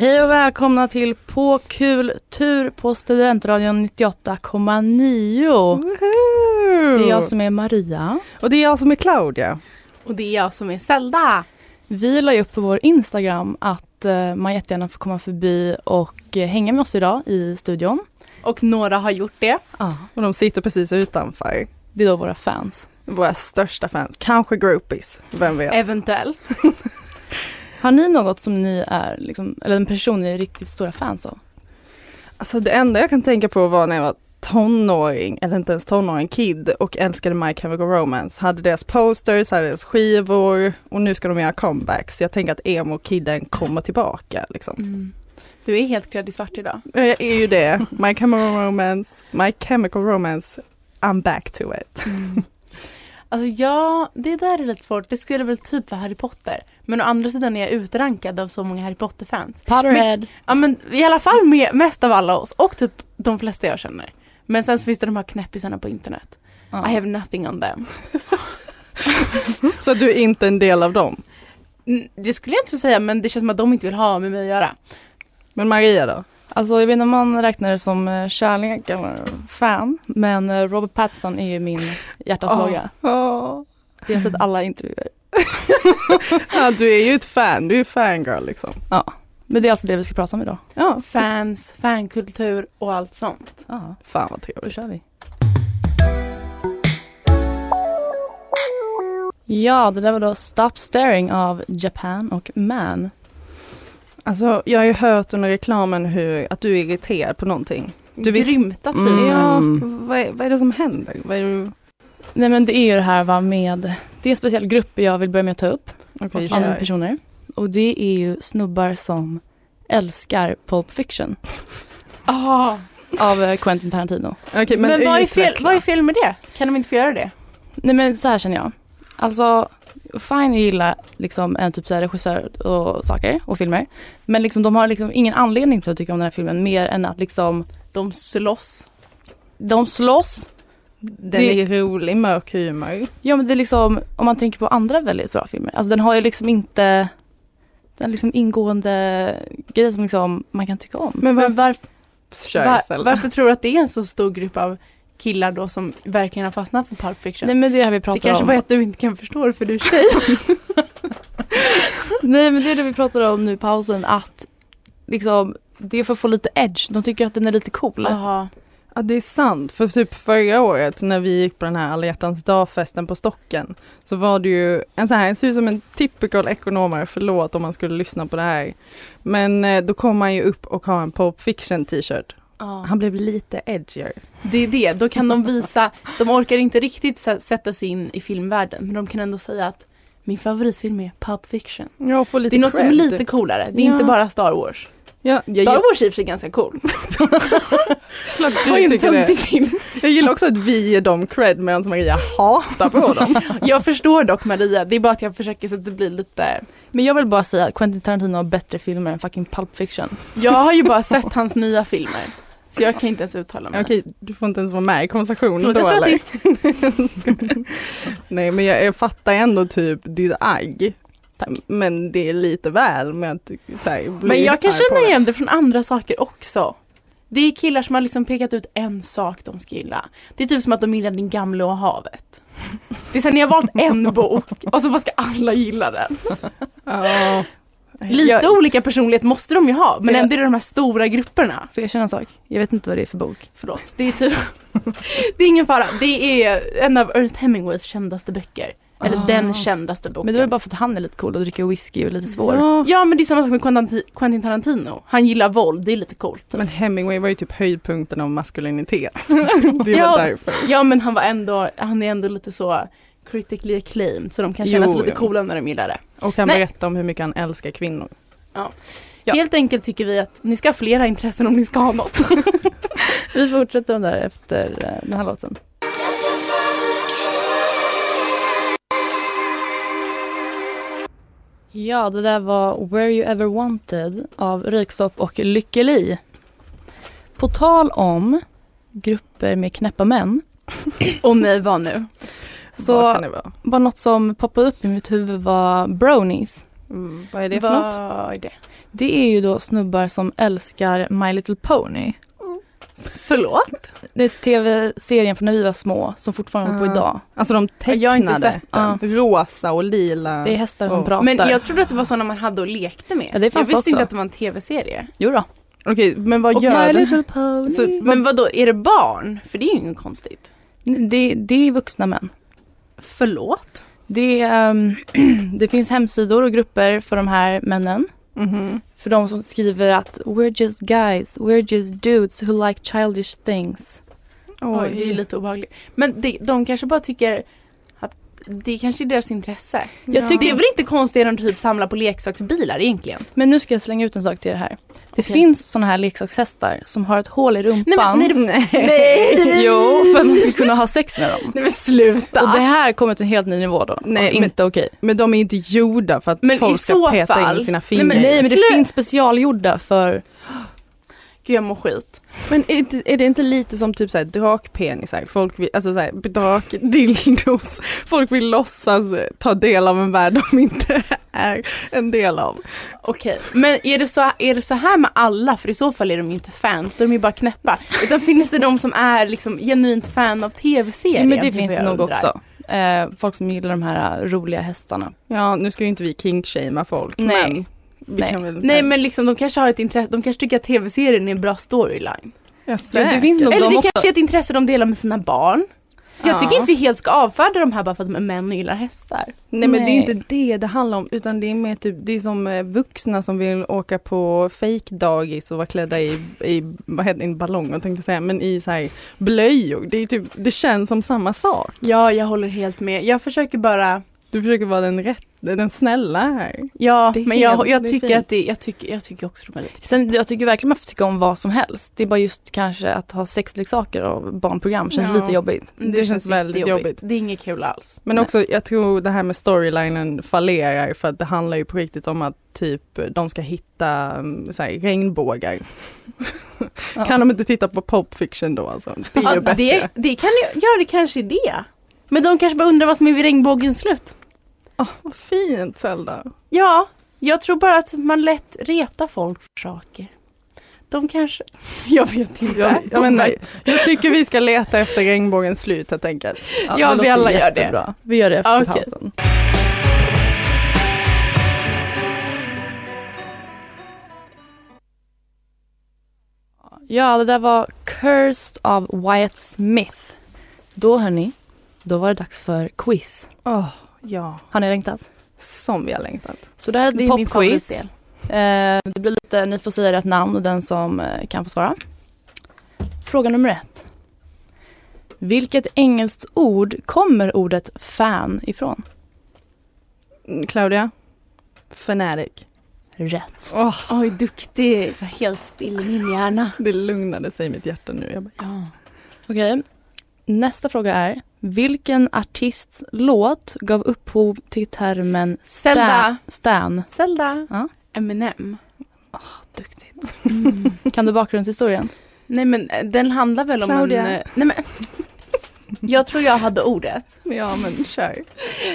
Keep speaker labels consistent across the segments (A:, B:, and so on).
A: välkomna till På kul tur på Studentradion 98,9. Det är jag som är Maria.
B: Och det är jag som är Claudia.
C: Och det är jag som är Zelda.
A: Vi la ju upp på vår Instagram att eh, man jättegärna får komma förbi och eh, hänga med oss idag i studion.
C: Och några har gjort det.
A: Ah,
B: Och de sitter precis utanför.
A: det är då våra fans.
B: Våra största fans, kanske groupies, vem
A: Eh.
B: vet.
C: Eventuellt.
A: Har ni något som ni är, liksom, eller en person ni är riktigt stora fans av?
B: Alltså det enda jag kan tänka på var när jag var tonåring, eller inte ens tonåring, kid och älskade My Chemical Romance. Hade deras posters, hade deras skivor och nu ska de göra comebacks. Jag tänker att emo-kidden kommer tillbaka liksom.
C: Mm. Du är helt klädd i svart idag.
B: Ja, Jag är ju det. My Chemical Romance, My Chemical Romance, I'm back to it.
C: Alltså ja, det där är lite svårt. Det skulle väl typ vara Harry Potter. Men å andra sidan är jag utrankad av så många Harry Potter-fans.
A: Potterhead.
C: Ja men i alla fall med, mest av alla oss och typ de flesta jag känner. Men sen så finns det de här knäppisarna på internet.
A: Ah.
C: I have nothing on them.
B: Så du är inte en del av dem.
C: Mm, Det skulle jag inte säga men det känns som att de inte vill ha med mig att göra.
B: Men Maria då?
A: Alltså jag vet inte om man räknar det som eh, kärlek eller fan, men eh, Robert Pattinson är ju min hjärtas
B: Ah.
A: låga.
B: Oh.
A: Jag har sett alla intervjuer.
B: Ja, du är ju ett fan, du är ju fangirl liksom.
A: Men det är alltså det vi ska prata om idag.
B: Ja,
C: Fans, fankultur och allt sånt.
A: Ja,
B: fan vad
A: då
B: trevligt.
A: kör vi. Ja, det där var då Stop Staring av Japan och Man.
B: Alltså, jag har ju hört under reklamen hur, att du är irriterad på någonting. Du visst-
C: Grymta typ.
A: Mm.
B: Ja, vad är, vad är det som händer? Vad är det...
A: Nej men det är ju det här va med, det är en speciell grupp jag vill börja med att ta upp
B: Okej,
A: av
B: kör.
A: personer. Och det är ju snubbar som älskar Pulp Fiction
C: Ah.
A: av eh, Quentin Tarantino.
B: Okej,
C: Men,
B: men,
C: vad, är fel,
B: utveckla.
C: vad är fel med det? Kan de inte få göra det?
A: Nej men så här känner jag. Alltså, fine jag gillar liksom en typ så här regissör och saker och filmer. Men liksom de har liksom ingen anledning till att tycka om den här filmen mer än att liksom
C: De slåss.
A: de slåss.
B: Den
A: Det-
B: är rolig, mörk humor.
A: Ja men det är liksom, om man tänker på andra väldigt bra filmer. Alltså den har ju liksom inte den liksom ingående grejer som liksom man kan tycka om.
B: Men
C: Men
B: varför...
C: varf-
B: Kör
C: var,
B: Estelle.
C: varför tror du att det är en så stor grupp av killar då som verkligen har fastnat för Pulp Fiction?
A: Nej men det är det här vi pratar
C: det kanske
A: om.
C: bara är att du inte kan förstå det för du är tjej.
A: Nej men det är det vi pratade om nu i pausen att liksom det är för att få lite edge. De tycker att den är lite cool.
C: Jaha.
B: Ja, det är sant. För typ förra året när vi gick på den här alla hjärtans dagfesten på Stocken så var det ju en sån här, en ser ut som en typical ekonomare, förlåt om man skulle lyssna på det här. Men eh, då kom han ju upp och har en Pulp Fiction t-shirt. Han blev lite edgier.
C: Det är det, då kan de visa, de orkar inte riktigt sä- sätta sig in i filmvärlden men de kan ändå säga att min favoritfilm är Pulp Fiction.
B: Jag får lite
C: Det är något som är
B: cred.
C: lite coolare, det är
B: Ja.
C: inte bara Star Wars.
B: Ja, jag,
C: Star
B: jag,
C: Wars är i och för sig ganska cool.
B: klart
C: Det var ju
B: du
C: en
B: tycker det.
C: töntig film.
B: jag gillar också att vi ger dem cred medan Maria hatar på dem.
C: Jag förstår dock Maria, det är bara att jag försöker så att det blir lite
A: Men jag vill bara säga att Quentin Tarantino har bättre filmer än fucking Pulp Fiction.
C: Jag har ju bara sett hans nya filmer. Så jag kan inte ens uttala mig.
B: Okej, du får inte ens vara med i konversationen
C: Förlåt,
B: då
C: jag
B: eller?
C: är så
B: Nej men jag, jag fattar ändå typ ditt agg. Men det är lite väl med att så här, bli
C: Men jag kan
B: arg på
C: känna
B: det.
C: igen det från andra saker också. Det är killar som har liksom pekat ut en sak de ska gilla. Det är typ som att de gillar Din gamla och havet. Det är sen jag har valt en bok och så bara ska alla gilla den.
B: Ja.
C: Lite
B: jag,
C: olika personlighet måste de ju ha men
A: Jag-
C: ändå är det de här stora grupperna.
A: Får jag känna en sak? Jag vet inte vad det är för bok.
C: Förlåt, det är typ Det är ingen fara, det är en av Ernest Hemingways kändaste böcker. Eller
B: Ah.
C: den kändaste boken.
A: Men det var ju bara för att han är lite cool och dricker whisky och är lite svår.
B: Ja.
C: Ja men det är samma sak med Quentin- Quentin Tarantino. Han gillar våld, det är lite coolt.
B: Men Hemingway var ju typ höjdpunkten av maskulinitet. det var
C: Ja.
B: därför.
C: Ja men han var ändå, han är ändå lite så critically acclaimed så de kan känna sig
B: Jo,
C: lite
B: ja.
C: coola när de gillar det.
B: Och han
C: Nej.
B: berättade om hur mycket han älskar kvinnor.
A: Ja.
C: Helt enkelt tycker vi att ni ska ha flera intressen om ni ska ha något.
A: Vi fortsätter den där efter eh, den här låten. Ja, det där var Where You Ever Wanted av Röyksopp och Lykke Li. På tal om grupper med knäppa män
C: Och nej vad nu?
A: så
B: Vad kan det vara?
A: Bara något som poppade upp i mitt huvud var bronies.
B: Mm, vad är det för något?
C: Vad är det?
A: Det är ju då snubbar som älskar My Little Pony.
C: Förlåt?
A: Det är tv-serien från när vi var små som fortfarande håller
B: Ah.
A: på idag.
B: Alltså de tecknade.
C: Jag har inte sett
A: den.
B: Rosa och lila.
A: Det är hästar som
B: Oh.
A: pratar.
C: Men jag trodde att det var sådana man hade och lekte med.
A: Ja, det
C: jag
A: fanns det
C: visste inte
A: också.
C: att det var en tv-serie.
A: Jo då.
B: Okej, men vad
C: Och
B: gör
C: My
B: den?
A: Little Pony.
B: Så-
C: Men vad då är det barn? För det är ju inget konstigt.
A: Det, det är vuxna män.
C: Förlåt?
A: Det, är, ehm, det finns hemsidor och grupper för de här männen.
B: Mhm.
A: För de som skriver att we're just guys, we're just dudes who like childish things.
C: Oj, det är lite obehagligt. Men det, de kanske bara tycker att det kanske är deras intresse.
A: Jag
C: Det är
A: tycker-
C: väl inte konstigt om du typ samlar på leksaksbilar egentligen?
A: Men nu ska jag slänga ut en sak till det här. Det
C: Okej.
A: finns sådana här leksakshästar som har ett hål i
C: Nej, men,
A: rumpan.
C: nej, det,
B: Nej.
A: Jo, för att man ska kunna ha sex med dem.
B: Nej men sluta.
A: Och det här kommer till en helt ny nivå då.
B: Nej,
A: Och inte okej.
B: Men de är inte gjorda för att
C: Men i
B: folk
C: så
B: ska peta
C: fall-
B: in sina
C: Nej,
A: Nej
B: fingrar
A: men, nej,
B: i.
A: men det
C: Slö-
A: finns specialgjorda för...
C: Gud jag mår skit.
B: Men är, inte- är det inte lite som typ såhär drakpenisar? Folk vill, alltså såhär drakdildos. Folk vill låtsas eh, ta del av en värld de inte är en del av.
C: Okej, men är det, så, är det så här med alla? För i så fall är de ju inte fans, då är de ju bara knäppa. Utan finns det de som är liksom genuint fan av tv-serien?
A: men det
C: är vad
A: finns det
C: jag
A: nog
C: undrar.
A: också. Eh, folk som gillar de här eh, roliga hästarna.
B: Ja, nu ska ju inte vi kinkshamea folk,
A: Nej.
B: men vi
A: Nej.
B: kan väl...
C: Nej men liksom de kanske har ett intresse, de kanske tycker att tv-serien är en bra storyline.
B: Ja,
A: Jo, det
B: säkert.
A: finns nog
C: Eller
A: de
C: det
A: också.
C: kanske är ett intresse de delar med sina barn. Jag
B: Ja.
C: tycker inte vi helt ska avfärda de här bara för att de är män och gillar hästar.
B: Nej men det är
A: Nej.
B: inte det det handlar om utan det är mer typ, det är som eh, vuxna som vill åka på fake dagis och vara klädda i, i vad heter det, inte ballonger tänkte jag säga, men i så här blöjor. Det, är typ, det känns som samma sak.
C: Ja, jag håller helt med. Jag försöker bara,
B: Du försöker vara den rätt, den snälla här.
C: ja,
B: Det är
C: men jag,
B: helt-
C: jag
B: det är
C: tycker
B: fint.
C: att det, jag tycker, jag tycker också de är lite
A: Sen, jag tycker verkligen man får tycka om vad som helst. Det är bara just kanske att ha sexleksaker och barnprogram känns
B: Ja.
A: lite jobbigt.
B: Det känns väldigt
C: jättejobbigt.
B: jobbigt.
C: Det är inget kul alls.
B: Men
A: Nej.
B: också jag tror det här med storylinen fallerar för att det handlar ju på riktigt om att typ de ska hitta mm, så här, regnbågar.
A: Ja.
B: Kan de inte titta på Pop Fiction då alltså? Det är ju
C: ja,
B: bättre.
C: det, det kan ju, ja, det kanske är det. Men de kanske bara undrar vad som är vid regnbågens slut.
B: Åh, vad fint Zelda.
C: Ja, jag tror bara att man lätt retar folk för saker. De kanske, jag vet inte.
B: Jag, jag,
C: De-
B: menar, jag tycker vi ska leta efter regnbågens slut helt enkelt.
C: Ja,
A: det
C: vi
A: låter
C: alla gör det.
A: jättebra. Vi gör det efter
C: Ja, okej.
A: pausen. Ja, det där var Cursed av Wyatt Smith. Då hörni, då var det dags för quiz.
B: Åh, ja,
A: Har ni längtat?
B: som vi har längtat.
A: Så det här är
C: Det
A: ett
C: är min
A: popquiz.
C: favoritdel.
A: Eh, det blir lite, ni får säga rätt namn och den som eh, kan få svara. Fråga nummer ett. Vilket engelskt ord kommer ordet fan ifrån?
B: Mm, Claudia? Fanatic.
A: Rätt.
B: Åh,
C: Oj, duktig. Jag är helt still i min hjärna.
B: det lugnade sig i mitt hjärta nu. Jag bara,
A: Okej. Nästa fråga är. Vilken artists låt gav upphov till termen stan?
C: Zelda.
A: stan?
C: Zelda.
A: Ja.
C: Eminem.
A: Duktigt.
C: Mm.
A: Kan du bakgrundshistorien?
C: Nej men eh, den handlar väl om
B: Claudia.
C: en... eh, Nej men. Jag tror jag hade ordet.
B: ja men kör.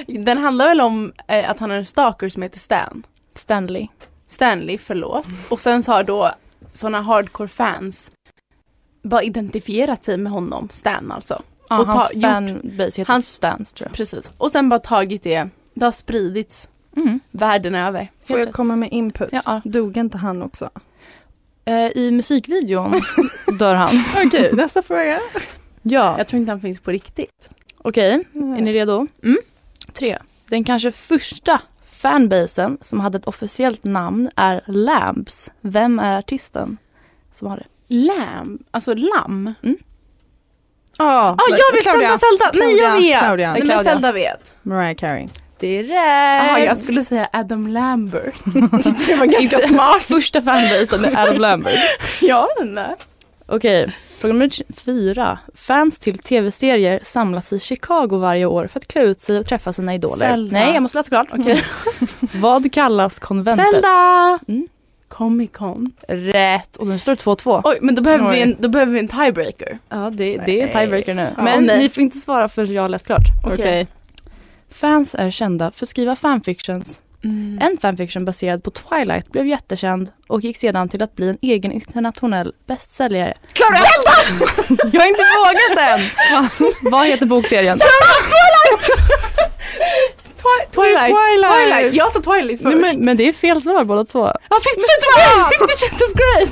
C: Den handlar väl om eh, att han har en stalker som heter Stan.
A: Stanley.
C: Stanley, förlåt. Och sen så har då sådana hardcore fans bara identifierat sig med honom, Stan alltså.
A: Ja,
C: Och ta-
A: hans
C: gjort-
A: fanbase heter
C: hans-
A: Stans tror jag.
C: Precis. Och sen bara tagit det, det har spridits
A: Mm.
C: världen över.
B: Får
A: Helt
B: jag
A: rätt.
B: komma med input?
A: Ja.
B: Dog inte han också?
A: Eh, I musikvideon dör han.
B: Okej, nästa fråga.
A: Ja.
C: Jag tror inte han finns på riktigt.
A: Okej, är ni redo?
C: Mm.
A: Tre. Den kanske första fanbasen som hade ett officiellt namn är Lambs. Vem är artisten som har det?
C: Lam, alltså lamm.
B: Ja,
C: Ja, Ah, jag vet! Zelda, Zelda! Nej, jag
B: Claudia,
C: vet!
B: Claudia.
C: Nej, men
A: Claudia.
C: Zelda vet.
B: Mariah Carey.
A: Det är rätt!
C: Jaha, jag skulle säga Adam Lambert. Tyckte det var ganska smart.
A: Första fanbasen är Adam Lambert.
C: Ja, nej.
A: Okej, fråga nummer t- fyra. Fans till tv-serier samlas i Chicago varje år för att klä ut sig och träffa sina idoler.
C: Zelda. Mm.
A: Nej, jag måste läsa klart. Okej. Vad kallas konventet?
C: Zelda!
A: Mm.
C: Comic Con.
A: Rätt! Och nu står det 2-2.
C: Oj, men då behöver,
B: Oj.
C: vi en, då behöver vi en tiebreaker.
A: Ja, det, det är
B: Nej.
A: tiebreaker nu.
B: Ja,
A: Men
C: nej.
A: ni får inte svara förrän jag har läst klart.
C: Okej.
B: Okej.
A: Fans är kända för att skriva fanfictions.
C: Mm.
A: En fanfiction baserad på Twilight blev jättekänd och gick sedan till att bli en egen internationell bästsäljare.
C: Klara!
A: Jag har inte vågat än! Vad heter bokserien?
C: Twi- Twilight.
B: Twilight.
C: Twilight. Jag sa Twilight först.
A: Nej, men, men det är fel svar båda två.
C: ah, Fifty Shades of Grey!
A: Fifty Shades of Grey!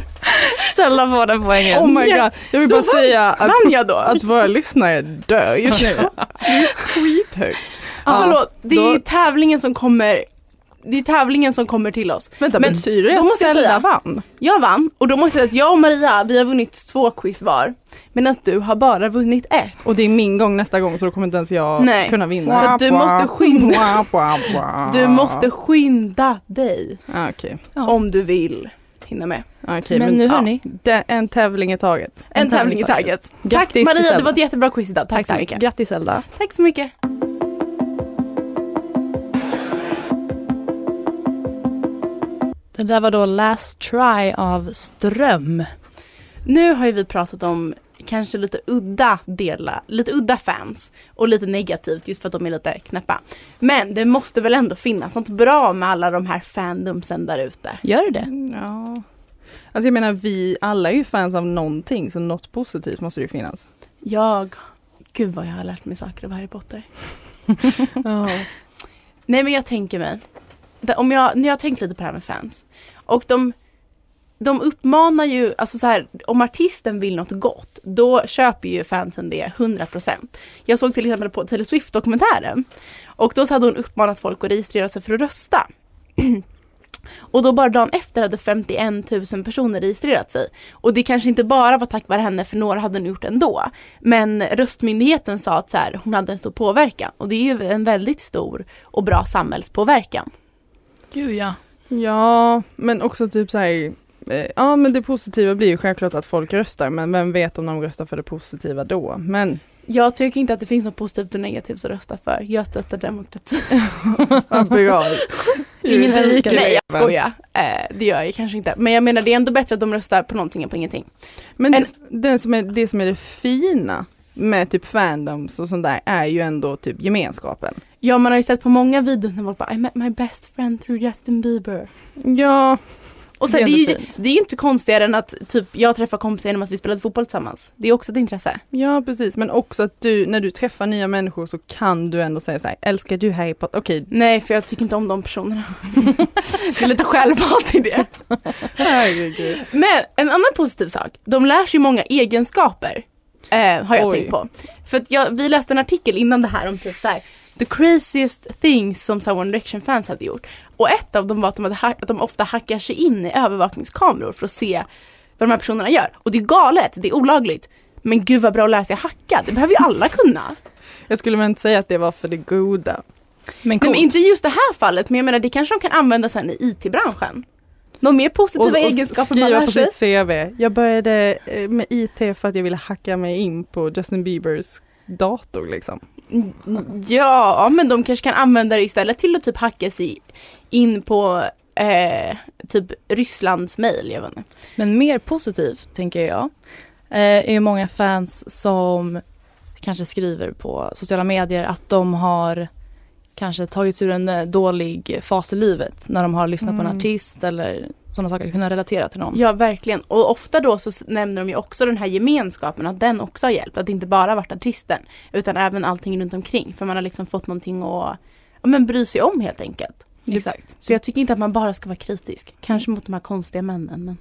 A: Sällan får den poängen.
B: Oh my
C: Ja.
B: god, jag vill bara
C: Då vann-
B: säga att,
C: Vann jag då?
B: att våra lyssnare dör just nu. Det är skithögt.
C: ja, förlåt, det är
B: då-
C: tävlingen som kommer det är tävlingen som kommer till oss.
B: Vänta,
C: Men
B: betyder det
C: då
B: att
C: måste jag
B: Zelda
C: säga-
B: vann?
C: Jag vann och då måste jag säga att jag och Maria vi har vunnit två quiz var. Medan du har bara vunnit ett.
B: Och det är min gång nästa gång så då kommer inte ens jag
C: Nej.
B: kunna vinna.
C: Så att du måste skynda-
B: skynda.
C: Du måste skynda dig
B: Ah, Okej,
A: Ja.
C: om du vill hinna med.
B: Okej,
A: men nu hörni,
B: Den, en tävling i taget.
C: En, tävling i taget. Tack
A: Grattis till
C: Maria, det
A: Zelda.
C: var ett jättebra quiz idag. Tack,
A: Tack,
C: så
A: tack.
C: mycket.
A: Grattis Zelda.
C: Tack så mycket.
A: Det där var då Last Try av Ström.
C: Nu har ju vi pratat om kanske lite udda delar, lite udda fans och lite negativt just för att de är lite knäppa. Men det måste väl ändå finnas något bra med alla de här fandomsen där ute.
A: Gör du det?
B: Ja. Alltså jag menar vi alla är ju fans av någonting så något positivt måste det ju finnas.
C: Jag, gud vad jag har lärt mig saker av Harry Potter. Nej men jag tänker mig, det- om jag, när jag har tänkt lite på det här med fans och de, de uppmanar ju, alltså så här, om artisten vill något gott, då köper ju fansen det 100%. Jag såg till exempel på Taylor Swift-dokumentären och då så hade hon uppmanat folk att registrera sig för att rösta. Och då bara dagen efter hade 51 000 personer registrerat sig. Och det kanske inte bara var tack vare henne, för några hade hon gjort ändå. Men röstmyndigheten sa att så här, hon hade en stor påverkan. Och det är ju en väldigt stor och bra samhällspåverkan.
A: Gud ja.
B: Ja, men också typ så här. eh, Ja men det positiva blir ju självklart att folk röstar men vem vet om de röstar för det positiva då. Men
C: Jag tycker inte att det finns något positivt och negativt att rösta för. Jag stöttar demokrati.
B: vad bra.
A: Ingen
B: Juridik
A: älskar
B: eleven.
C: Nej, jag skojar. Eh, det gör jag kanske inte. Men jag menar, det är ändå bättre att de röstar på någonting än på ingenting.
B: Men
C: En-
B: det, den som är, det som är det fina med typ fandoms och sånt där är ju ändå typ gemenskapen.
C: Ja, man har ju sett på många videos när folk bara I met my best friend through Justin Bieber.
B: Ja,
C: Och så
A: Det är
C: det, är
A: ändå
C: ju,
A: fint.
C: det är ju inte konstigare än att typ, jag träffar kompisar genom att vi spelade fotboll tillsammans. Det är också ett intresse.
B: ja precis men också att du när du träffar nya människor så kan du ändå säga så här älskar du Harry Potter? Okej,
C: Nej, för jag tycker inte om de personerna. det är lite självhat i det.
B: herregud.
C: Men en annan positiv sak, de lär sig många egenskaper. Eh, har jag
B: Oj.
C: tänkt på. För att jag, vi läste en artikel innan det här om typ så här, the craziest things som så här, One Direction fans hade gjort. Och ett av dem var att de, hade, hack- att de ofta hackar sig in i övervakningskameror för att se vad de här personerna gör. Och det är galet, det är olagligt. Men gud vad bra att lära sig hacka, det behöver ju alla kunna.
B: Jag skulle väl inte säga att det var för det goda.
A: Men
C: Nej,
A: coolt.
C: men inte just det här fallet, men jag menar det kanske de kan använda sen i IT-branschen. De mer positiva egenskaper man
B: skriva
C: lär
B: på
C: sig.
B: sitt CV. Jag började eh, med IT för att jag ville hacka mig in på Justin Biebers dator liksom.
C: Mm, Ja, men de kanske kan använda det istället till att typ hacka sig in på eh, typ Rysslands mejl. Jag vet inte.
A: Men mer positivt, tänker jag, eh, är ju många fans som kanske skriver på sociala medier att de har kanske tagits ur en eh, dålig fas i livet när de har lyssnat på en
B: Mm.
A: artist eller sådana saker, kunna relatera till någon.
C: Ja, verkligen. Och ofta då så s- nämner de ju också den här gemenskapen, att den också har hjälpt. Att det inte bara varit artisten, utan även allting runt omkring. För man har liksom fått någonting att ja, men bry sig om helt enkelt.
A: Exakt.
C: Så jag tycker inte att man bara ska vara kritisk. Kanske mot de här konstiga männen. Men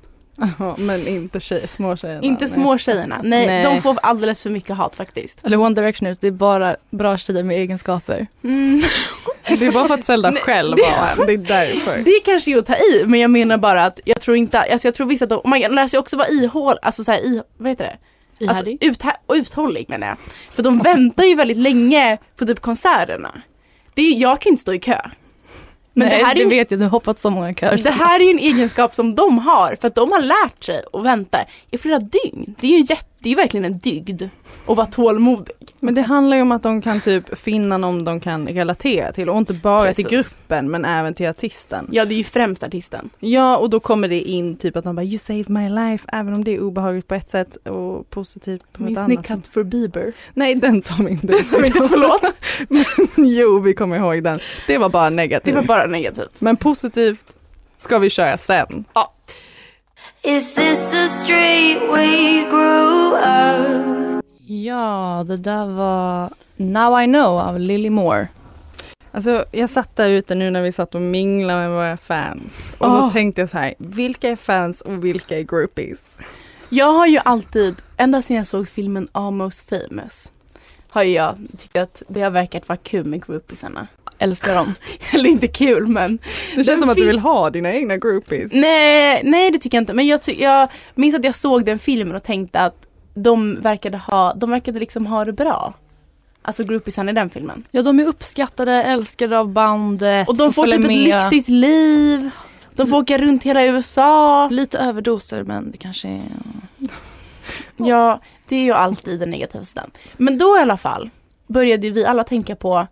B: Ja, men inte tjej, små tjejerna.
C: inte
B: nej.
C: små tjejerna. Nej,
B: Nej.
C: de får alldeles för mycket hat faktiskt.
A: Eller One Directioners, det är bara bra tjejer med egenskaper.
C: Mm.
B: Det är bara för att Zelda
C: Nej,
B: själv var en. Det är därför.
C: Det kanske är att ta i, men jag menar bara att jag tror inte, alltså jag tror visst att de, man lär sig också vara ihål, alltså så här, i, vad heter det? Alltså
A: Ihärdig.
C: uthä- och uthållig menar jag. För de väntar ju väldigt länge på typ konserterna. Det är, jag kan ju inte stå i kö. Men
A: Nej,
C: det här är ju
A: vet jag, du har hoppat så många köer.
C: det här är ju en egenskap som de har för att de har lärt sig att vänta i flera dygn. Det är ju jätte, det är verkligen en dygd att vara tålmodig.
B: Men det handlar ju om att de kan typ finna någon de kan relatera till och inte bara till
C: Precis.
B: gruppen men även till artisten.
C: Ja, det är ju främst artisten.
B: Ja och då kommer det in typ att de bara you saved my life även om det är obehagligt på ett sätt och positivt på ett
C: Minns ni
B: annat.
C: Cut for Bieber?
B: Nej den tar vi inte.
C: Men inte- Förlåt,
B: jo vi kommer ihåg den. Det var bara
C: det
B: negativt.
C: var bara negativt.
B: Men positivt ska vi köra sen.
D: Is this the street we grew up?
A: Ja, det där var Now I know av Lily Moore.
B: Alltså jag satt där ute nu när vi satt och minglade med våra fans och
C: Åh.
B: så tänkte jag så här, vilka är fans och vilka är groupies?
C: Jag har ju alltid, ända sedan jag såg filmen Almost famous, har ju jag tyckt att det har verkat vara kul med groupisarna. Älskar dem. Eller inte kul men.
B: Det känns
C: Den
B: som att du
C: fin-
B: vill ha dina egna groupies.
C: Nej, nej det tycker jag inte. Men jag, ty- jag minns att jag såg den filmen och tänkte att de verkade ha, de verkade liksom ha det bra. Alltså groupisarna i den filmen.
A: Ja, de är uppskattade, älskade av bandet.
C: Och de får
A: följa
C: typ ett lyxigt liv. De får åka runt hela USA.
A: Lite överdoser men det kanske är...
C: Ja, det är ju alltid den negativa sidan. Men då i alla fall började ju vi alla tänka på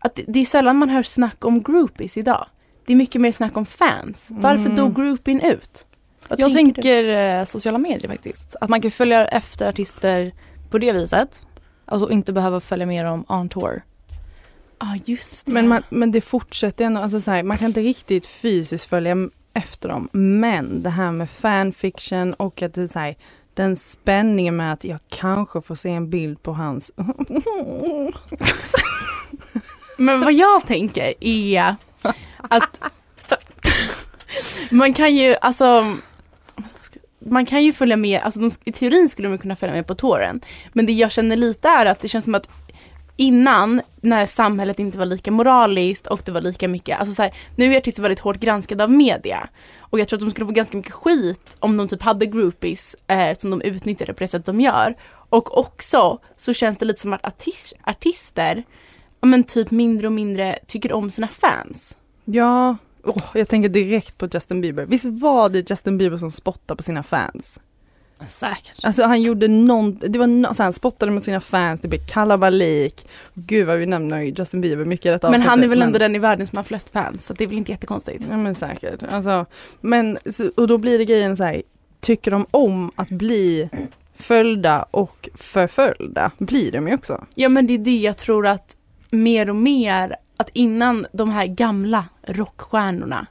C: att det- det är sällan man hör snack om groupies idag. Det är mycket mer snack om fans. Varför
B: Mm.
C: dog groupien ut? Vad
A: Jag
C: tänker du?
A: tänker eh, sociala medier faktiskt. Att man kan följa efter artister på det viset. Alltså inte behöva följa med dem on tour.
C: Ja, just det.
B: Men, man, men det fortsätter ändå, alltså så här, man kan inte riktigt fysiskt följa m- efter dem. Men det här med fanfiction och att det är så här, den spänningen med att jag kanske får se en bild på hans...
C: Men vad jag tänker är att man kan ju, alltså man kan ju följa med, alltså de, i teorin skulle man kunna följa med på tåren. Men det jag känner lite är att det känns som att innan, när samhället inte var lika moraliskt och det var lika mycket, alltså så här, nu är artister väldigt hårt granskade av media. Och jag tror att de skulle få ganska mycket skit om de typ hade groupies eh, som de utnyttjade på det sätt de gör. Och också så känns det lite som att artis- artister ja, men typ mindre och mindre tycker om sina fans.
B: Ja, åh, jag tänker direkt på Justin Bieber. Visst var det Justin Bieber som spottade på sina fans?
A: Säkert.
B: Alltså han gjorde någon, det var nå- så här, han spottade mot sina fans, det blev kalabalik. Gud vad vi nämner ju Justin Bieber mycket i detta
C: men han
B: avsnittet,
C: är väl
B: men-
C: ändå den i världen som har flest fans så det är väl inte jättekonstigt.
B: Ja men säkert. Alltså, men, så- och då blir det grejen så här, tycker de om att bli följda och förföljda? Blir de ju också.
C: Ja men det är det jag tror att mer och mer att innan de här gamla rockstjärnorna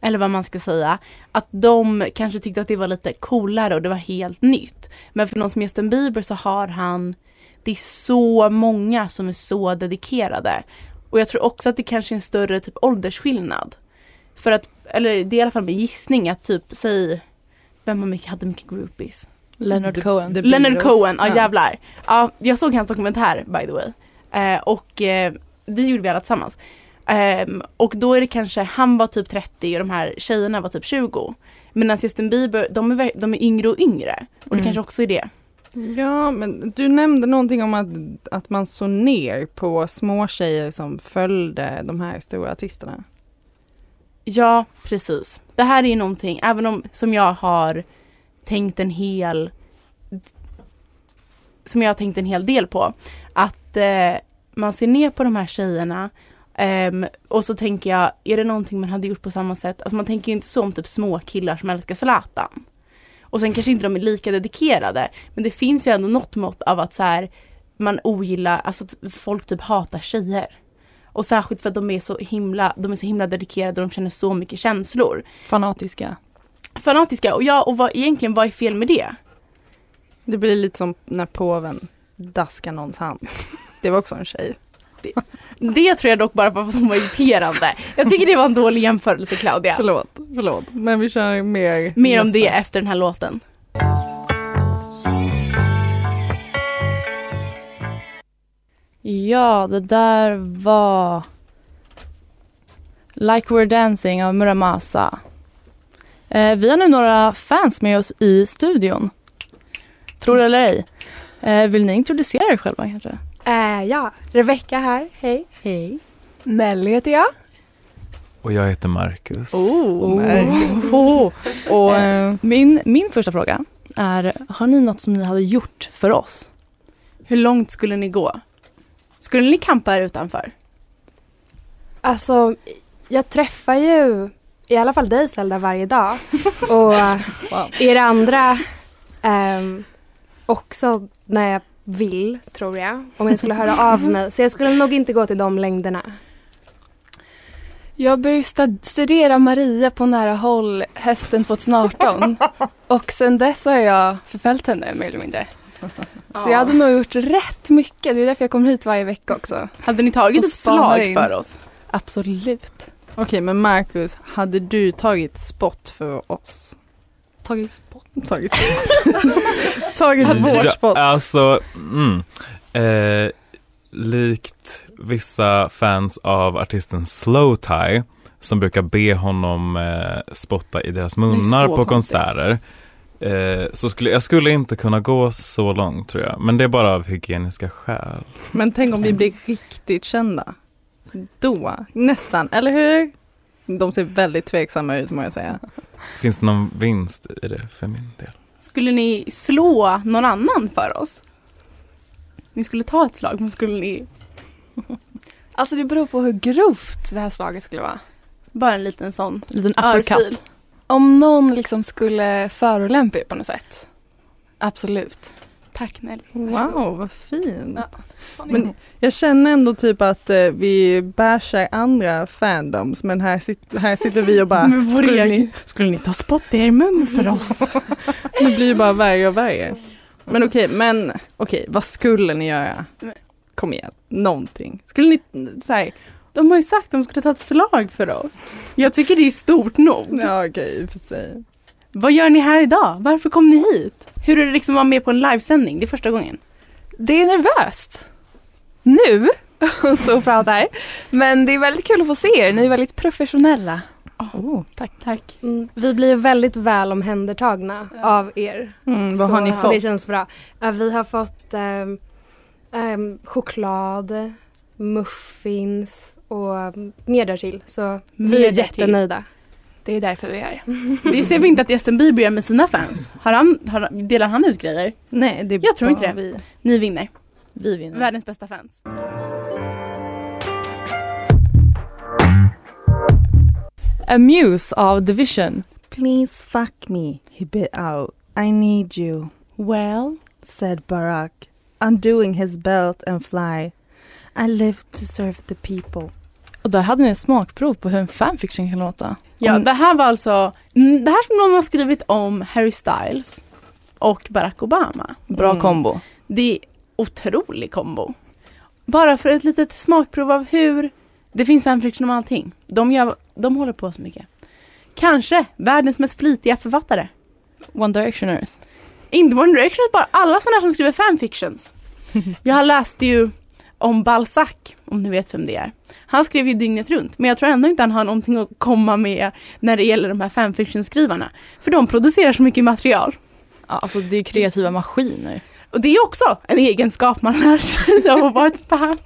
C: eller vad man ska säga, att de kanske tyckte att det var lite coolare och det var helt nytt. Men för någon som Justin Bieber så har han, det är så många som är så dedikerade. Och jag tror också att det kanske är en större typ åldersskillnad. För att, eller det är i alla fall min gissning att typ, säg, vem har mycket, hade mycket groupies?
A: Leonard Cohen.
B: Det-
C: Leonard
B: Beatles.
C: Cohen, ja
B: Ja.
C: jävlar. Ja, jag såg hans dokumentär by the way. Eh, och eh, det gjorde vi alla tillsammans. Ehm, och då är det kanske, han var typ 30 och de här tjejerna var typ 20. Medan Justin Bieber, de är, ver- de är yngre och yngre. Och det
A: Mm.
C: kanske också är det.
B: Ja men du nämnde någonting om att, att man såg ner på små tjejer som följde de här stora artisterna.
C: Ja, precis. Det här är ju någonting, även om som jag har tänkt en hel som jag har tänkt en hel del på. Att eh, man ser ner på de här tjejerna ehm, och så tänker jag, är det någonting man hade gjort på samma sätt? Alltså man tänker ju inte så om typ små killar som älskar Zlatan. Och sen kanske inte de är lika dedikerade, men det finns ju ändå något mått av att så här, man ogillar, alltså att folk typ hatar tjejer. Och särskilt för att de är så himla, de är så himla dedikerade och de känner så mycket känslor.
A: Fanatiska.
C: Fanatiska, och ja, och vad, egentligen vad är fel med det?
B: Det blir lite som när påven daskar någons hand. Det var också en tjej.
C: Det tror jag dock bara för att de var irriterande. Jag tycker det var en dålig jämförelse Claudia.
B: Förlåt, förlåt. Men vi kör mer.
C: Mer om
B: nästa.
C: det efter den här låten.
A: Ja, det där var Like We're Dancing av Muramasa. Eh, vi har nu några fans med oss i studion. Tror det eller ej. Eh, vill ni introducera er själva kanske?
E: Eh, ja, Rebecka här. Hej.
A: Hej.
E: Nelly heter jag.
F: Och jag heter Marcus.
B: Oh,
A: Oh.
B: märkligt. Oh. Och, eh,
A: Min, min första fråga är, har ni något som ni hade gjort för oss?
C: Hur långt skulle ni gå? Skulle ni campa här utanför?
E: Alltså, jag träffar ju i alla fall dig Zelda varje dag. Och eh,
B: Wow.
E: er andra ehm, också när jag vill, tror jag. Om jag skulle höra av mig. Så jag skulle nog inte gå till de längderna.
F: Jag började sta- studera Maria på nära håll hösten 2018 och sen dess har jag förföljt henne mer eller mindre. Så jag hade nog gjort rätt mycket, det är därför jag kommer hit varje vecka också.
C: Hade ni tagit
F: Och
C: ett
F: spanar
C: slag
F: in.
C: för oss?
F: Absolut.
B: Okej, men Marcus, hade du tagit spott för oss?
A: Tagit på.
B: Tagit Tagit
G: Mm.
B: vårt spott?
G: Alltså, mm. eh, likt vissa fans av artisten Slowtie som brukar be honom eh, spotta i deras munnar
C: så
G: på
C: konstigt.
G: konserter. Eh, så skulle, jag skulle inte kunna gå så långt tror jag, men det är bara av hygieniska skäl.
B: Men tänk om vi blir riktigt kända? Då, nästan, eller hur? De ser väldigt tveksamma ut må jag säga.
G: Finns det någon vinst i det för min del?
C: Skulle ni slå någon annan för oss? Ni skulle ta ett slag, men skulle ni...
F: Alltså det beror på hur grovt det här slaget skulle vara.
C: Bara en liten sån
A: Liten
C: örfil.
A: uppercut.
F: Om någon liksom skulle förolämpa er på något sätt. Absolut.
C: Tack Nelly.
B: Wow, vad fint.
F: Ja.
B: Men jag känner ändå typ att eh, vi bashar andra fandoms men här, sit- här sitter vi och bara
C: Men vår
B: skulle
C: egen-
B: ni, skulle ni ta spott i er mun för oss? det blir ju bara värre och värre. Men okej, men okej, vad skulle ni göra?
C: Nej.
B: Kom igen, någonting. Skulle ni, så här,
C: De har ju sagt att de skulle ta ett slag för oss. Jag tycker det är stort nog.
B: ja okej i och för sig.
C: Vad gör ni här idag? Varför kom ni hit? Hur är det liksom att vara med på en livesändning? Det är första gången.
F: Det är nervöst. Nu, att stå och prata här. Men det är väldigt kul att få se er. Ni är väldigt professionella. Oh,
C: tack. Oh, Tack.
E: Mm, vi blir väldigt väl omhändertagna av er.
B: Mm, vad har ni
E: så, Det
B: fått?
E: känns bra. Eh, vi har fått ehm, ehm, choklad, muffins och mm, mer därtill. Så vi
C: Mer
E: är
C: därtill.
E: jättenöjda.
F: Det är därför vi är här.
C: Det ser vi inte att Justin Bieber gör med sina fans. Har han, har, delar han ut grejer?
B: Nej, det är
C: Jag tror
B: bara
C: inte det.
B: vi.
C: Ni vinner.
A: Vi vinner.
C: Världens bästa fans.
A: Amuse av Division.
B: Please fuck me, he bit out. I need you.
C: Well.
B: said Barak, undoing his belt and fly. I live to serve the people.
A: Och där hade ni ett smakprov på hur en fanfiction kan låta.
C: Ja,
B: Om-
C: det här var alltså, mm, det här som någon har skrivit om Harry Styles och Barack Obama.
A: Bra
B: Mm.
A: kombo.
C: Det är otrolig kombo. Bara för ett litet smakprov av hur det finns fanfiction om allting. De, gör, de håller på så mycket. Kanske världens mest flitiga författare.
A: One Directioners.
C: Inte One Direction, bara alla sådana här som skriver fanfictions. Jag läste ju om Balzac, om ni vet vem det är. Han skrev ju dygnet runt, men jag tror ändå inte han har någonting att komma med när det gäller de här fanfiction-skrivarna. För de producerar så mycket material.
A: Ja, alltså det är kreativa maskiner.
C: Och det är ju också en egenskap man lär sig av att vara ett fan.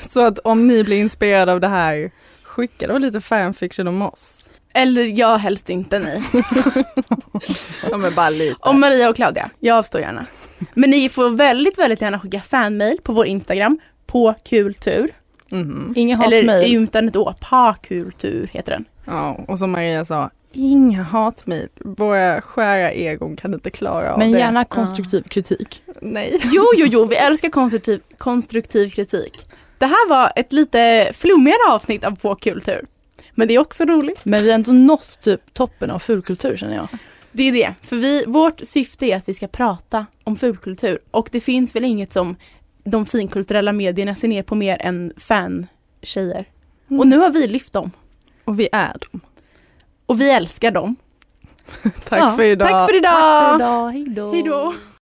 B: Så att om ni blir inspirerade av det här, skicka då lite fanfiction om oss.
C: Eller jag helst inte, nej.
B: Ja men bara lite.
C: Om Maria och Claudia, jag avstår gärna. Men ni får väldigt, väldigt gärna skicka fanmail på vår Instagram, på kultur.
B: Mhm.
A: Inga
C: Eller
A: hatmejl.
C: utan ett å, pakultur heter den.
B: Ja, och som Maria sa, inga hatmejl. Våra skära egon kan inte klara av
A: Men
B: det.
A: gärna konstruktiv kritik.
B: Nej.
C: Jo, jo, jo, vi älskar konstruktiv, konstruktiv kritik. Det här var ett lite flummigare avsnitt av På kultur. Men det är också roligt.
A: Men vi har ändå nått typ toppen av fulkultur känner jag.
C: Det är det, för vi, vårt syfte är att vi ska prata om fulkultur och det finns väl inget som de finkulturella medierna ser ner på mer än fan-tjejer. Och nu har vi lyft dem
B: Och vi är dem.
C: och vi älskar dem.
B: Tack
C: Ja,
B: för idag.
C: Tack för idag.
A: idag, hejdå.
C: Hej då.